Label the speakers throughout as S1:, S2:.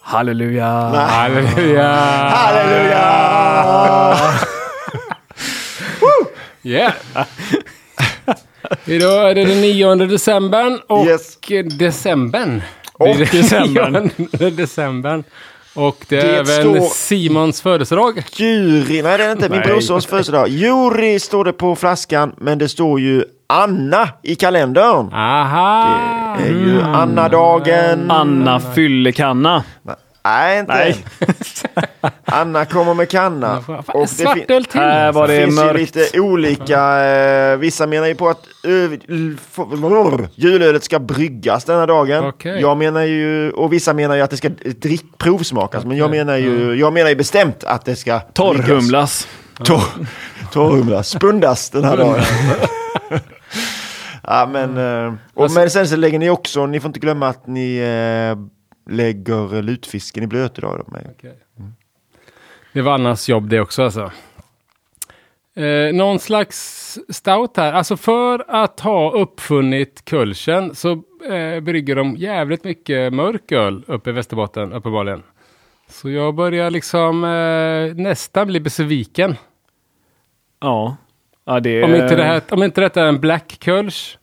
S1: Halleluja!
S2: Halleluja!
S1: Halleluja!
S2: Yeah! Idag är det den 9 decembern och
S3: Yes.
S2: decembern.
S3: Och
S2: Det är den
S1: decembern.
S2: 9 decembern. Och det,
S3: Det
S2: är även
S3: står-
S2: Simons födelsedag.
S3: Juri, nej det är det inte, min
S2: Nej.
S3: brorsons födelsedag. Juri står det på flaskan, men det står ju Anna i kalendern.
S2: Aha!
S3: Det är ju Anna-dagen.
S1: Anna Fyllekanna.
S3: nej, inte.
S1: Nej.
S3: Anna kommer med kanna.
S2: Fan,
S3: Och det fin- Äh,
S2: Svartöl till!
S1: Här var
S3: det
S1: det
S3: finns ju
S1: mörkt.
S3: lite olika, eh, vissa menar ju på att ö, l- f- julölet ska bryggas denna dagen.
S2: Okej.
S3: Jag menar ju, och vissa menar ju att det ska drick, provsmakas, men jag menar, ju, jag menar ju bestämt att det ska bryggas.
S1: Torrhumlas.
S3: Tor- Torrhumla. Spundas den här dagen. ja, men, eh, och, men sen så lägger ni också, ni får inte glömma att ni eh, lägger lutfisken i blöt idag. Då, med.
S2: Det var Annas jobb det också alltså. Eh, någon slags stout här. Alltså för att ha uppfunnit kulchen så eh, brygger de jävligt mycket mörk öl uppe i Västerbotten uppenbarligen. Så jag börjar liksom eh, nästan bli besviken.
S1: Ja. ja det är
S2: Om, inte det här, om inte detta är en black kulch,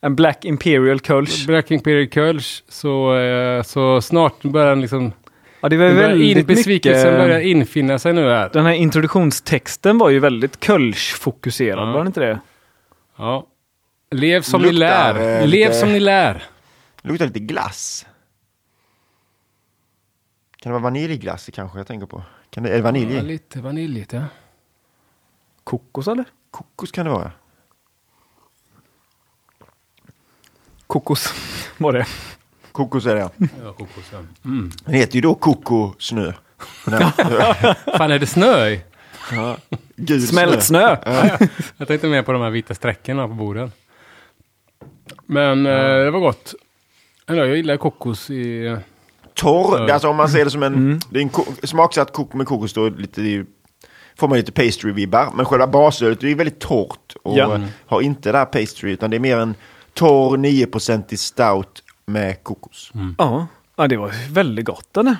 S1: En Black Imperial Kölsch.
S2: black imperial kulch, så, eh, så snart börjar den liksom...
S1: Ja, det var
S2: den börjar in,
S1: väldigt
S2: besvikelsen börjar
S1: mycket.
S2: infinna sig nu här.
S1: Den här introduktionstexten var ju väldigt Kölsch-fokuserad, var den inte det?
S2: Ja. Lev som ni
S3: Luktar,
S2: lär.
S3: eh,
S2: Lev
S3: lite-
S2: som ni lär.
S3: Det luktar lite glass. Kan det vara vaniljglass kanske jag tänker på? Kan det, är det vanilj
S2: Ja,
S3: i?
S2: lite vaniljigt, ja.
S1: Kokos eller?
S3: Kokos kan det vara.
S1: Kokos var det.
S3: Kokos är det ja. Den heter ju då kokosnö. Nej,
S2: Fan, är det snö i?
S3: Gul
S1: Smält
S3: snö.
S1: snö.
S2: Jag tänkte mer på de här vita sträckorna på borden. Men eh, det var gott. Eller, Jag gillar kokos i...
S3: Torr, alltså om man ser det som en...
S2: Mm.
S3: Det är en ko- smaksatt kok med kokos då lite i, får man lite pastry-vibbar. Men själva basölet är ju väldigt torrt och Mm.
S1: Ja.
S3: har inte det här pastry utan det är mer en torr 9% stout med kokos.
S2: Mm.
S1: Ja. ja, det var väldigt gott eller?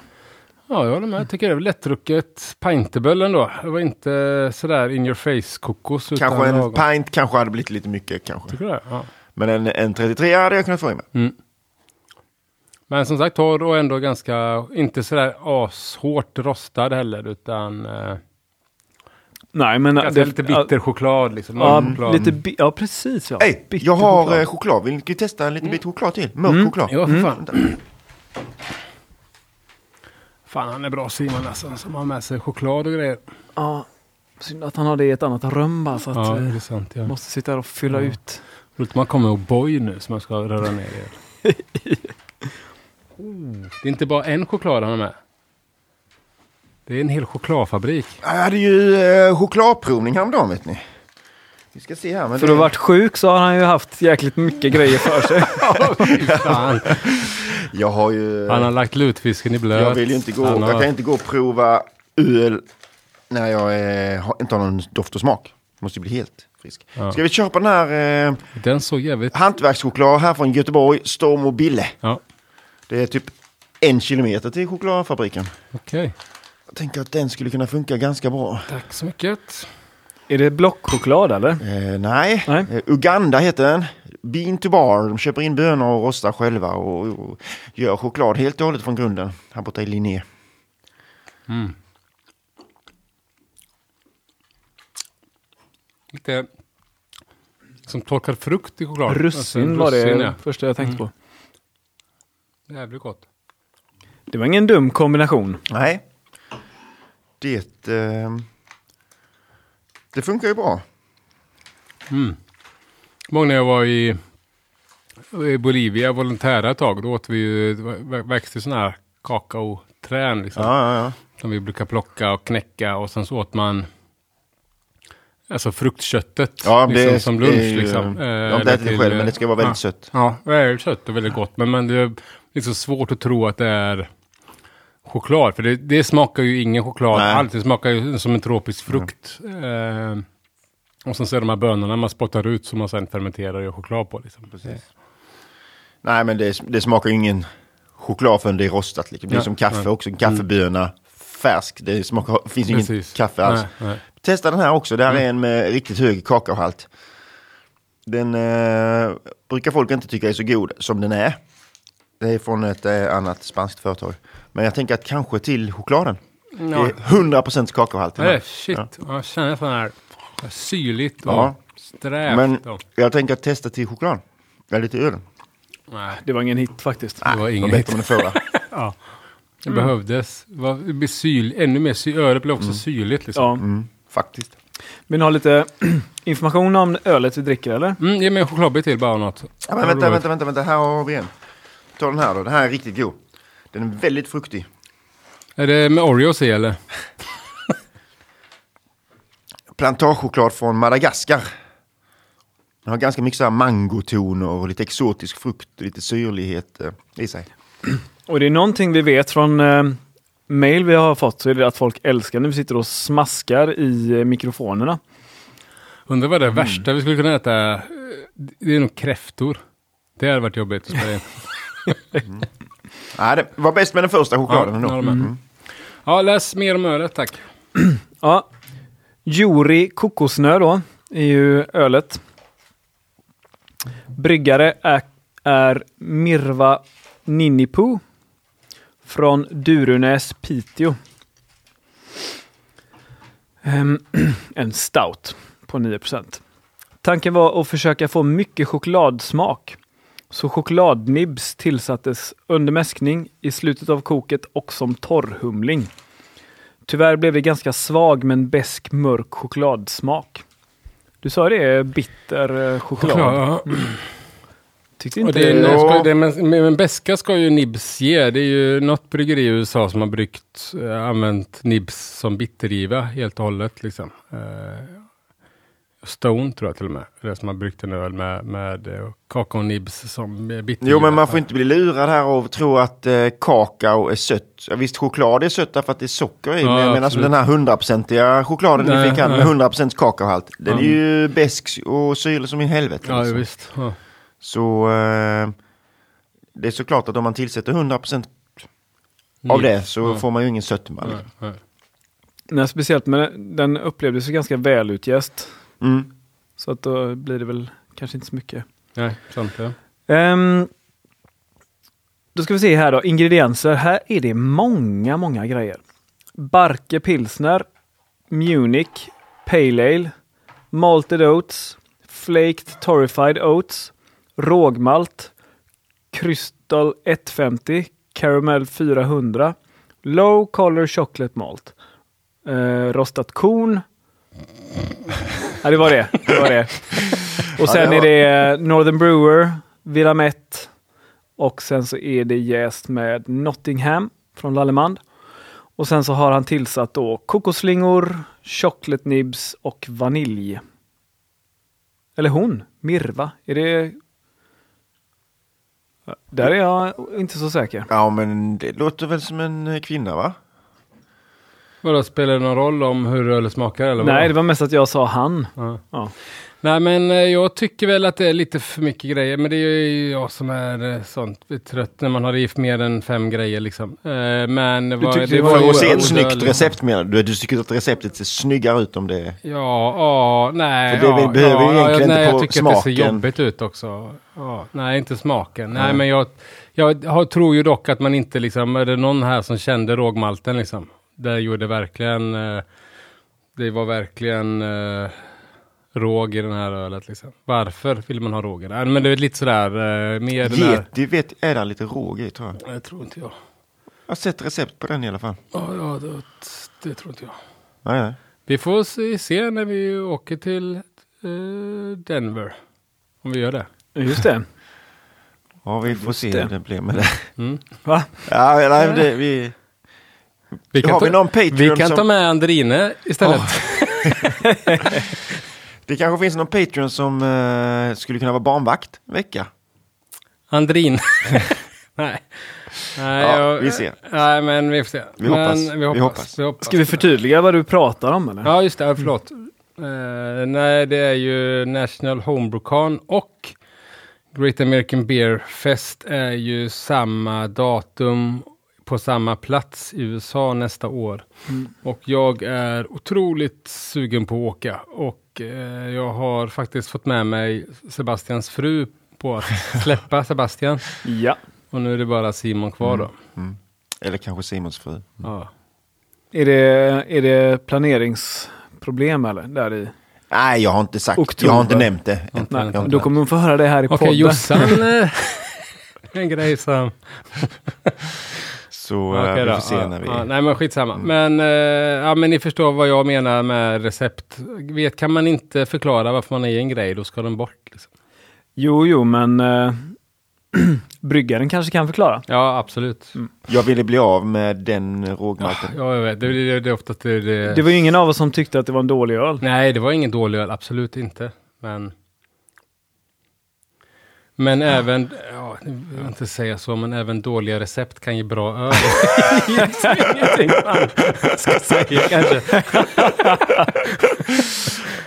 S2: Ja, jag håller med. Jag tycker det är väl lättdrucket pinterböll ändå. Det var inte sådär in your face kokos. utan Mm.
S3: Kanske en
S2: lagom.
S3: pint kanske hade blivit lite mycket kanske.
S2: Tycker du det? Ja.
S3: Men en, en 33 hade jag kunnat få i mig.
S2: Mm. Men som sagt torr och ändå ganska, inte sådär ashårt rostad heller, utan eh,
S1: Nej, men...
S2: ganska lite bitter choklad liksom.
S1: Ja,
S2: Mörk choklad.
S1: lite bi- ja precis. Ja.
S3: Hej,
S1: Bitter
S3: jag har eh,
S1: choklad.
S3: choklad. choklad. Vill ni testa en liten bit choklad till? Mörk choklad.
S2: Mm.
S3: Mm.
S2: Ja, för fan. Fan, han är bra Simon alltså, som har med sig choklad och grejer.
S1: Ja, synd att han har det i ett annat rum bara, så att
S2: Ja, det
S1: vi
S2: är sant. Ja.
S1: måste sitta här och fylla ut.
S2: Roligt man kommer ihåg boy nu som jag ska röra ner i. Oh, Det är inte bara en choklad han har med. Det är en hel chokladfabrik.
S3: Jag hade ju eh, chokladprovning häromdagen vet ni. Vi ska se här. Men
S1: För
S3: det...
S1: att ha varit sjuk så har han ju haft jäkligt mycket grejer för sig.
S2: Fan.
S3: Jag har ju...
S2: Han har lagt lutfisken i blöt.
S3: Jag vill ju inte gå...
S2: Han har-
S3: Jag kan inte gå och prova öl när jag eh, har, inte har någon doft och smak. Måste ju bli helt frisk. Ska vi köpa den här eh,
S2: Den såg jävligt...
S3: hantverkschoklad här från Göteborg, Storm och Bille.
S2: Ja,
S3: Det är typ en kilometer till chokladfabriken.
S2: okej.
S3: Jag tänker att den skulle kunna funka ganska bra.
S2: Tack så mycket.
S1: är det blockchoklad eller?
S3: Eh, nej,
S1: Nej.
S3: Eh, Uganda heter den. Bean to bar, de köper in bönor och rostar själva och, och gör choklad helt och hållet från grunden. Här borta i Linné.
S2: Lite som torkad frukt i choklad.
S1: Russin
S2: Alltså,
S1: var det
S2: russin, ja. Mm.
S1: första jag tänkte på.
S2: Jävligt gott.
S1: Det var ingen dum kombination.
S3: Nej, det, eh, det funkar ju bra.
S2: Många när jag var i, i Bolivia, volontära ett tag, då åt vi ju, det var- växte sådana här kakaoträn liksom,
S3: Ja, ja, ja.
S2: som vi brukar plocka och knäcka och sen så åt man Alltså fruktköttet
S3: ja
S2: liksom,
S3: det,
S2: som lunch.
S3: det är ju-
S2: liksom. Eh,
S3: Jag har
S2: eller
S3: inte ätit det
S2: till,
S3: själv,
S2: eh,
S3: men det ska vara väldigt
S2: ja.
S3: sött.
S2: Ja, det är ju kött och väldigt gott. Men, men det är liksom svårt att tro att det är choklad. För det, det smakar ju ingen choklad
S3: Nej. Mm.
S2: alls. Det smakar ju som en tropisk frukt. Eh, och sen så är de här bönorna man spottar ut som man sen fermenterar och gör choklad på. Liksom.
S3: Nej, men det, det smakar ju ingen choklad förrän det är rostat. Liksom. Det är
S2: Ja,
S3: som kaffe
S2: ja. Mm.
S3: också. Kaffeböna, färsk. Det smakar, finns ingen
S2: Precis.
S3: kaffe alls.
S2: Nej, Mm. nej.
S3: Testa den här också. Det här är en med riktigt hög kakaohalt. Den eh, brukar folk inte tycka är så god som den är. Det är från ett eh, annat spanskt företag. Men jag tänker att kanske till chokladen. Det
S2: Ja.
S3: är 100% kakaohalt. i den här.
S2: Nej, shit,
S3: Ja.
S2: jag känner sån här syrligt och
S3: Ja.
S2: strävt.
S3: Men
S2: och,
S3: jag tänker att testa till choklad. Eller till ölen.
S2: nej,
S1: Det var ingen hit faktiskt.
S2: det var
S3: Det var
S2: ingen hit.
S3: Ah, bättre än den förra.
S2: Ja. Det behövdes. Det var- Det blir syl, ännu mer syl, ölet blev också syrligt. Liksom.
S1: Ja.
S3: Mm, faktiskt.
S1: Vill ni ha lite information om ölet vi dricker eller?
S2: Mm, ge mig en chokladbit till bara något.
S3: Ja, men vänta, vänta, vänta, vänta. Här har vi en. Ta den här då. Den här är riktigt god. Den är väldigt fruktig.
S2: Är det med Oreos i eller?
S3: Plantagechoklad från Madagaskar. Den har ganska mycket så här mangotoner och lite exotisk frukt och lite syrlighet eh, i sig.
S1: Och det är någonting vi vet från eh, mail vi har fått så är det att folk älskar när vi sitter och smaskar i eh, mikrofonerna.
S2: Undrar vad det värsta vi skulle kunna äta. eh, Det är nog kräftor. Det hade varit jobbigt att spela in.
S3: Nej, det var bäst med den första chokladen
S2: Ja,
S3: ändå. Mm.
S2: jag håller med. Ja, läs mer om ölet tack.
S1: Ja. Juri kokosnö då, är ju ölet. Bryggare är, är Mirva Ninnipu från Durunäs, Piteå. Ehm, En stout på 9%. Tanken var att försöka få mycket chokladsmak. Så chokladnibs tillsattes under mäskning, i slutet av koket och som torrhumling. Tyvärr blev det ganska svag men besk mörk chokladsmak. Du sa det är bitter eh, choklad.
S2: Choklad.
S1: Tyckte
S2: Och
S1: inte...
S2: det är,
S3: Ja.
S2: nej, ska, det är, men, men beska ska ju nibs ge. Det är ju något bryggeri i USA som har bryggt, eh, använt nibs som bittergiva helt och hållet. Liksom. Eh, Stone tror jag till och med. Det är som har bryggt en öl med, med eh, kakaonibs som eh, bittergiva.
S3: Jo, men man får inte bli lurad här och tro att eh, kakao är sött. Ja, visst, choklad är sött därför att det är socker i.
S2: Ja,
S3: men jag menar som
S2: absolut.
S3: den här hundraprocentiga chokladen
S2: Nej,
S3: vi fick här med
S2: nej.
S3: 100% kakaohalt. Den är
S2: Mm.
S3: ju besk och syrlig som i helvete.
S2: Ja,
S3: liksom.
S2: visst. Ja.
S3: Så eh, det är såklart att om man tillsätter 100% av
S2: Nibs.
S3: det så
S2: Ja.
S3: får man ju ingen sötma.
S2: Ja,
S3: liksom.
S2: ja.
S1: Nej, speciellt men den upplevdes ju ganska välutjäst.
S3: Mm.
S1: Så att då blir det väl kanske inte så mycket.
S2: Nej, sant ja.
S1: Ehm, då ska vi se här då, ingredienser. Här är det många, många grejer. Barke pilsner, Munich, Pale Ale, Malted Oats, Flaked Torrified Oats, Rågmalt, Crystal 150, Caramel 400, Low Color Chocolate Malt, eh, Rostat korn. Ja, det var det. det, var det. Och sen
S3: det
S1: är
S3: var-
S1: det eh, Northern Brewer, Vilamet och sen så är det jäst med Nottingham från Lallemand. Och sen så har han tillsatt då kokosslingor, chocolate nibs och vanilj. Eller hon, Mirva. Är det... Där är jag inte så säker.
S3: Ja, men det låter väl som en eh, kvinna, va?
S2: Vadå, spelar det någon roll om hur ölet smakar eller? vadå?
S1: Nej, det var mest att jag sa han.
S2: Ja.
S1: Ja.
S2: Nej, men eh, jag tycker väl att det är lite för mycket grejer. Men det är ju jag som är eh, sånt är trött när man har i mer än fem grejer liksom. Eh, Men
S1: Du tyckte det var
S3: För
S1: ju-
S3: att se
S2: ju-
S3: ett snyggt
S2: liksom.
S3: recept menar du? Du tycker att receptet ser snyggare ut om det...
S2: Ja, ja, nej.
S3: För det vi
S2: ja,
S3: behöver ju
S2: ja, ja,
S3: egentligen
S2: nej,
S3: inte
S2: jag
S3: på
S2: tycker att det ser
S3: smaken.
S2: jobbigt ut också. Ja, nej, inte smaken. Nej,
S3: Nej.
S2: men jag, jag har, tror ju dock att man inte liksom, är det någon här som kände rågmalten liksom? Det gjorde verkligen, eh, det var verkligen eh, råg i den här ölet liksom. Varför vill man ha råg i det? Nej, Men det är lite sådär, eh, mer den här...
S3: Yeti vet, är där lite råg i, tror jag.
S2: Nej, Det tror inte jag.
S3: Jag har sett recept på den i alla fall.
S2: Ja, ja, det, det tror inte jag.
S3: Nej, nej.
S2: Vi får se, se när vi åker till eh, Denver. Om vi gör det.
S1: Just det.
S3: Ja, vi får se
S1: det.
S3: hur det blir med det.
S2: Mm.
S1: Va?
S3: Ja, nej, men det vi...
S2: Vi kan,
S3: har
S2: ta,
S3: vi någon Patreon
S2: vi kan
S3: som...
S2: ta med Andrine istället.
S3: Det kanske finns någon Patreon som eh, skulle kunna vara barnvakt en vecka.
S2: Andrin. nej. nej
S3: Ja, vi ser.
S2: Nej, men vi får se.
S3: Vi
S2: men,
S3: hoppas.
S2: Vi hoppas.
S3: Vi hoppas.
S2: Vi hoppas.
S1: Ska vi förtydliga vad du pratar om eller?
S2: Ja, just det. Ja, Förlåt. Eh, nej, det är ju National Homebrewcon och Great American Beer Fest är ju samma datum på samma plats i USA nästa år.
S1: Mm.
S2: Och jag är otroligt sugen på att åka. Och eh, jag har faktiskt fått med mig Sebastians fru på att släppa Sebastian.
S1: Ja.
S2: Och nu är det bara Simon kvar då.
S3: Mm. Eller kanske Simons fru.
S2: Ja.
S1: Är det, är det planeringsproblem eller? Där i?
S3: Nej, jag har inte sagt.
S1: Oktober.
S3: Jag har inte nämnt det. Jag har
S2: Nej,
S3: inte
S1: Då
S3: nämnt.
S1: kommer hon få höra det här i
S2: Okej,
S1: podden.
S2: Jossan. eh, en grej som...
S3: Så
S2: Okej
S3: eh, vi
S2: då.
S3: får se
S2: Ja,
S3: när vi...
S2: ja, nej men skitsamma. Men, eh, ja, men ni förstår vad jag menar med recept. Vet, kan man inte förklara varför man är i en grej, då ska den bort. Liksom.
S1: Jo, jo, men eh, bryggaren kanske kan förklara.
S2: Ja, absolut.
S3: Jag ville bli av med den
S2: Mm. Ja,
S3: rågmaten.
S2: jag vet. Det, det, det är ofta det, det...
S1: Det var ju ingen av oss som tyckte att det var en dålig öl.
S2: Nej, det var ingen dålig öl. Absolut inte. Men... Men även, ja, jag vill inte säga så, men även dåliga recept kan ge bra öl. Det är ingenting man ska säga kanske.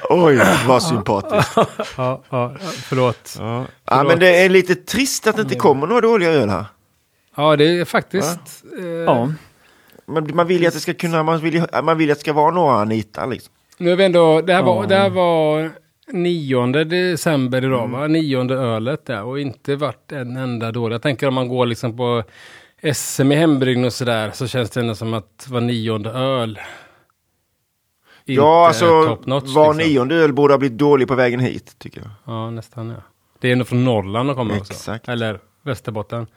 S3: Oj, vad sympatiskt.
S2: Ja, ja, förlåt.
S3: Ja. Ja, men det är lite trist att det inte kommer några dåliga öl här.
S2: Ja, det är faktiskt... Eh,
S1: Ja,
S3: Man, man vill ju att det ska kunna, man vill, ju- man vill att det ska vara några Anita liksom.
S2: Nu är vi ändå, det här var,
S1: Ja.
S2: det här var 9 december idag, va?
S3: Mm.
S2: Nionde ölet där och inte varit en enda dålig. Jag tänker om man går liksom på SM i hembryggning och sådär så känns det ändå som att var nionde öl. Inte
S3: ja, alltså
S2: top notch,
S3: var
S2: liksom.
S3: nionde öl borde ha blivit dålig på vägen hit, tycker jag.
S2: Ja, nästan ja. Det är ändå från Norrland och kommer
S3: Exakt.
S2: också. Eller Västerbotten.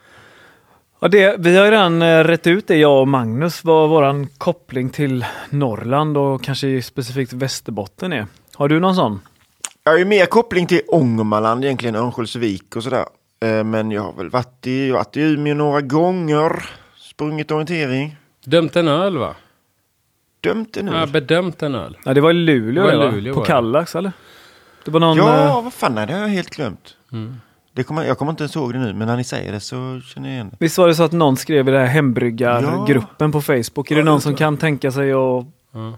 S1: och det, vi har ju redan eh, rätt ut det, jag och Magnus, vad våran koppling till Norrland och kanske specifikt Västerbotten är. Har du någon sån?
S3: Jag har ju mer koppling till Ångermanland egentligen, Örnsköldsvik och sådär. Eh, Men jag har väl varit i, jag har varit i Umeå några gånger, sprungit orientering,
S2: Dömt en öl va?
S3: dömt en
S2: Ja,
S3: öl.
S2: bedömt en öl.
S1: Ja, det var i Luleå,
S2: Det var i
S1: det, va?
S2: Luleå,
S1: på
S2: var det.
S1: Kallax eller? Det var någon... eh,
S3: Ja, vad fan, nej, det har jag helt glömt.
S2: Mm.
S3: Det kommer, jag kommer inte ens ihåg det nu, men när ni säger det så känner jag igen det.
S1: Visst var det så att någon skrev i den här hembryggargruppen på Facebook. Är det någon som kan tänka sig att
S2: Ja.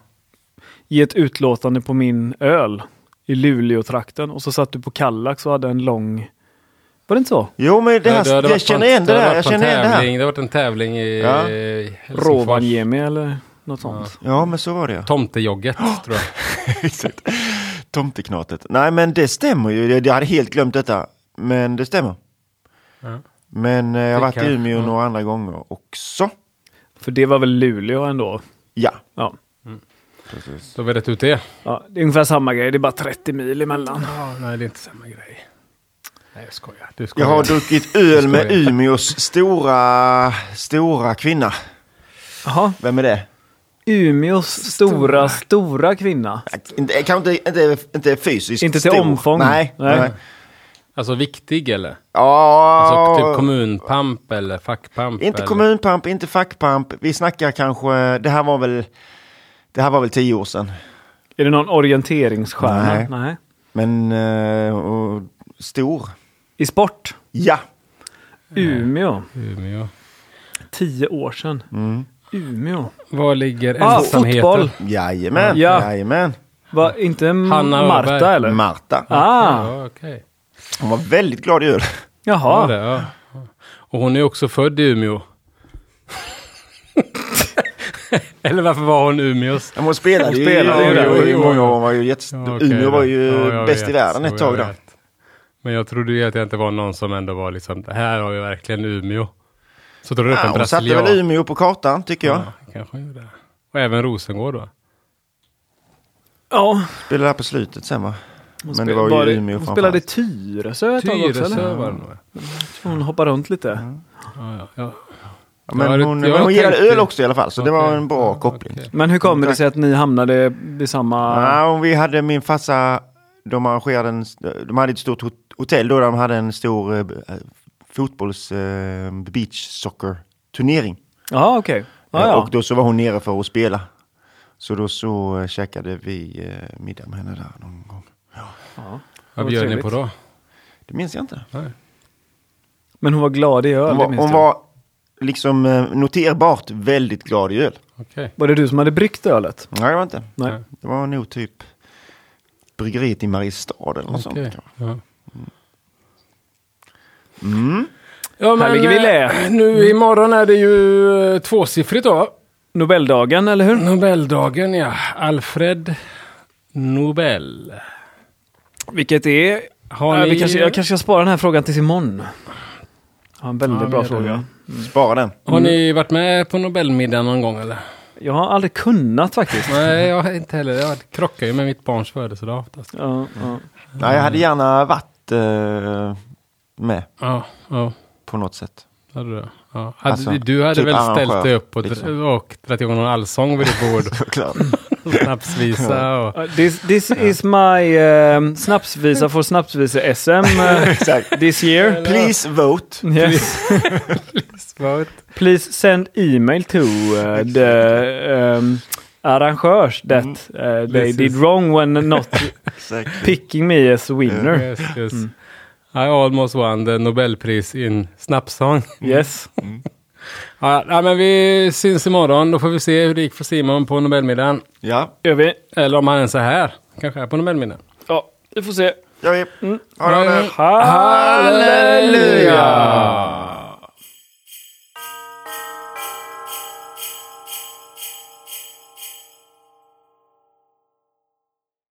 S1: ge ett utlåtande på min öl i Luleå-trakten? Och så satt du på Kallax och hade en lång... Var det inte så?
S3: Jo, men det
S2: Ja,
S3: här,
S2: det hade
S3: jag
S2: varit
S3: känner
S2: på en-
S3: igen det
S2: hade
S3: där, jag
S2: varit på en
S3: känner igen det här.
S2: tävling, Det har varit en tävling i
S3: Ja.
S2: eh, Helsingfors.
S1: Rovaniemi eller något sånt.
S3: Ja, men så var det ja.
S2: Tomtejogget tror jag.
S3: Exakt. Tomteknatet. Nej, men det stämmer ju. Jag- Jag hade helt glömt detta. Men det stämmer.
S2: Ja.
S3: Men eh, jag har
S2: Det
S3: varit i
S2: kan-
S3: Umeå
S2: ja.
S3: några andra gånger också.
S1: För det var väl Luleå ändå?
S3: Ja.
S1: Ja.
S2: Då har vi rätt ut det.
S1: ja. Det är ungefär samma grej, det är bara 30 mil emellan.
S2: Ja, nej, det är inte samma grej. Nej, jag skojar. Du
S3: Jag
S2: skojar.
S3: har druckit öl med
S2: skojar.
S3: Umeås stora, stora kvinna.
S1: Jaha.
S3: Vem är det?
S1: Umeås stora, stora kvinna.
S3: Inte- eh, Kanske inte, inte, inte fysiskt
S1: Inte till
S3: stor.
S1: omfång.
S3: Nej.
S1: Nej.
S3: nej.
S2: Alltså viktig eller?
S3: Ja,
S2: Alltså typ kommunpamp eller fackpamp?
S3: inte
S2: eller?
S3: kommunpamp, inte fackpamp. Vi snackar kanske, det här var väl, det här var väl tio år sedan.
S1: Är det någon orienteringsstjärna?
S3: Nej.
S1: Nej.
S3: Men eh, och, stor.
S1: I sport?
S3: Ja.
S1: Umeå.
S2: Umeå.
S1: Tio år sedan.
S3: Mm.
S1: Umeå.
S2: Var ligger
S1: Ah,
S2: ensamheten?
S1: fotboll!
S3: Jajamän,
S1: Ja.
S3: jajamän.
S1: Va, inte M-
S2: Hanna Öberg.
S1: Marta eller?
S3: Marta.
S1: ah,
S2: Ja, okej.
S3: Hon var väldigt glad i öl.
S2: Ja.
S1: jaha.
S2: det, ja. Och hon är också född i Umeå. eller varför var hon Umeås?
S3: Men Hon spelade,
S1: Hon
S3: ju
S1: spelade
S3: i
S1: ju där.
S3: Umeå i många år. Hon var ju
S2: Ja,
S3: jättes-
S2: okej
S3: Umeå
S2: då.
S3: var ju
S2: Ja, jag
S3: bäst i
S2: vet.
S3: världen ett
S2: Ja,
S3: tag
S2: jag
S3: då.
S2: vet. Men jag trodde ju att jag inte var någon som ändå var liksom, det här har ju verkligen Umeå. Så drog du upp
S3: Ja,
S2: en
S3: Ah, hon satte
S2: brasilian.
S3: väl Umeå på kartan tycker jag.
S2: Ja, kanske gjorde det. Och även Rosengård då?
S1: Ja,
S3: Spelade där på slutet sen va?
S1: hon
S3: Men det
S1: spel-
S3: var ju
S1: var det-
S3: Umeå
S1: Hon
S3: framför
S1: spelade i
S3: allt.
S1: Tyresö ett tag också
S2: Tyresö
S1: eller?
S2: var det nog.
S1: Hon hoppade runt lite.
S3: Mm.
S2: Ja, ja, ja.
S3: Ja, Men
S2: Ja, det-
S3: hon,
S2: jag
S3: men hon gillade
S2: tänkte-
S3: öl också i alla fall, så det var
S2: Okej.
S3: en bra
S2: Ja,
S3: koppling.
S2: okej.
S1: Men hur kommer det sig att ni hamnade vid samma...
S3: Ja, och vi hade min farsa, de arrangerade en, de hade ett stort hot- hotell då, där de hade en stor eh, fotbolls eh, beach soccer turnering.
S1: Ja, okej. Ja, ja.
S3: Och då så var hon nere för att spela. Så då så eh, käkade vi eh, middag med henne där någon gång.
S1: ja.
S2: Vad
S1: Vad
S2: bjöd ni
S1: trevligt.
S2: på då?
S3: Det minns jag inte.
S2: Nej.
S1: Men hon var glad i öl,
S3: Hon
S1: det
S3: var,
S1: minns
S3: hon
S1: jag.
S3: var liksom eh, noterbart väldigt glad i öl.
S2: Okej.
S1: Var det du som hade bryggt ölet?
S3: Nej, det var inte.
S1: Nej.
S2: Nej.
S3: Det var nog typ bryggeriet i Mariestad eller något
S2: Okej.
S3: sånt.
S2: Ja.
S3: Mm.
S2: Ja,
S1: Här ligger vi i lä.
S2: eh, Nu imorgon är det ju eh, tvåsiffrigt då.
S1: Nobeldagen, eller hur?
S2: Nobeldagen ja. Alfred Nobel.
S1: Vilket är...
S2: Har
S1: Nej,
S2: ni-
S1: vi kanske, jag kanske ska spara den här frågan tills imorgon. Ja, en väldigt
S2: Ja,
S1: bra
S2: vi gör det.
S1: fråga.
S3: Spara den.
S2: Har ni varit med på Nobelmiddagen någon gång eller?
S1: Jag har aldrig kunnat faktiskt.
S2: Nej, jag har inte heller. Jag krockar ju med mitt barns födelsedag oftast.
S1: Ja, ja.
S3: Nej, jag
S1: Mm.
S3: hade gärna varit eh, med
S2: Ja, ja.
S3: på något sätt.
S2: Hade du, ja. hade,
S3: Alltså,
S2: du hade
S3: typ
S2: väl ställt dig
S3: arrangör,
S2: upp och, dr-
S3: liksom.
S2: och dragit igång någon allsång vid ditt bord?
S3: Såklart.
S2: och snapsvisa och...
S1: Uh, This, this is my um, snapsvisa för snapsvisa-SM uh,
S3: Exakt.
S1: this year.
S3: Please
S1: Mm.
S3: vote.
S1: Yes. Please send email to uh, the um, arrangörs that uh, they
S2: This
S1: did
S2: is-
S1: wrong when not
S3: Exakt.
S1: picking me as winner.
S2: Yes, yes. I almost won the Nobelpris in snapsång.
S1: Yes.
S2: Ja, ja, men vi syns imorgon. Då får vi se hur det gick för Simon på Nobelmiddagen.
S3: Ja,
S1: Gör vi.
S2: Eller om han ens är här. Kanske är på Nobelmiddagen.
S1: Ja, vi får se.
S3: jag är... Ha det.
S1: Halleluja!
S2: Halleluja!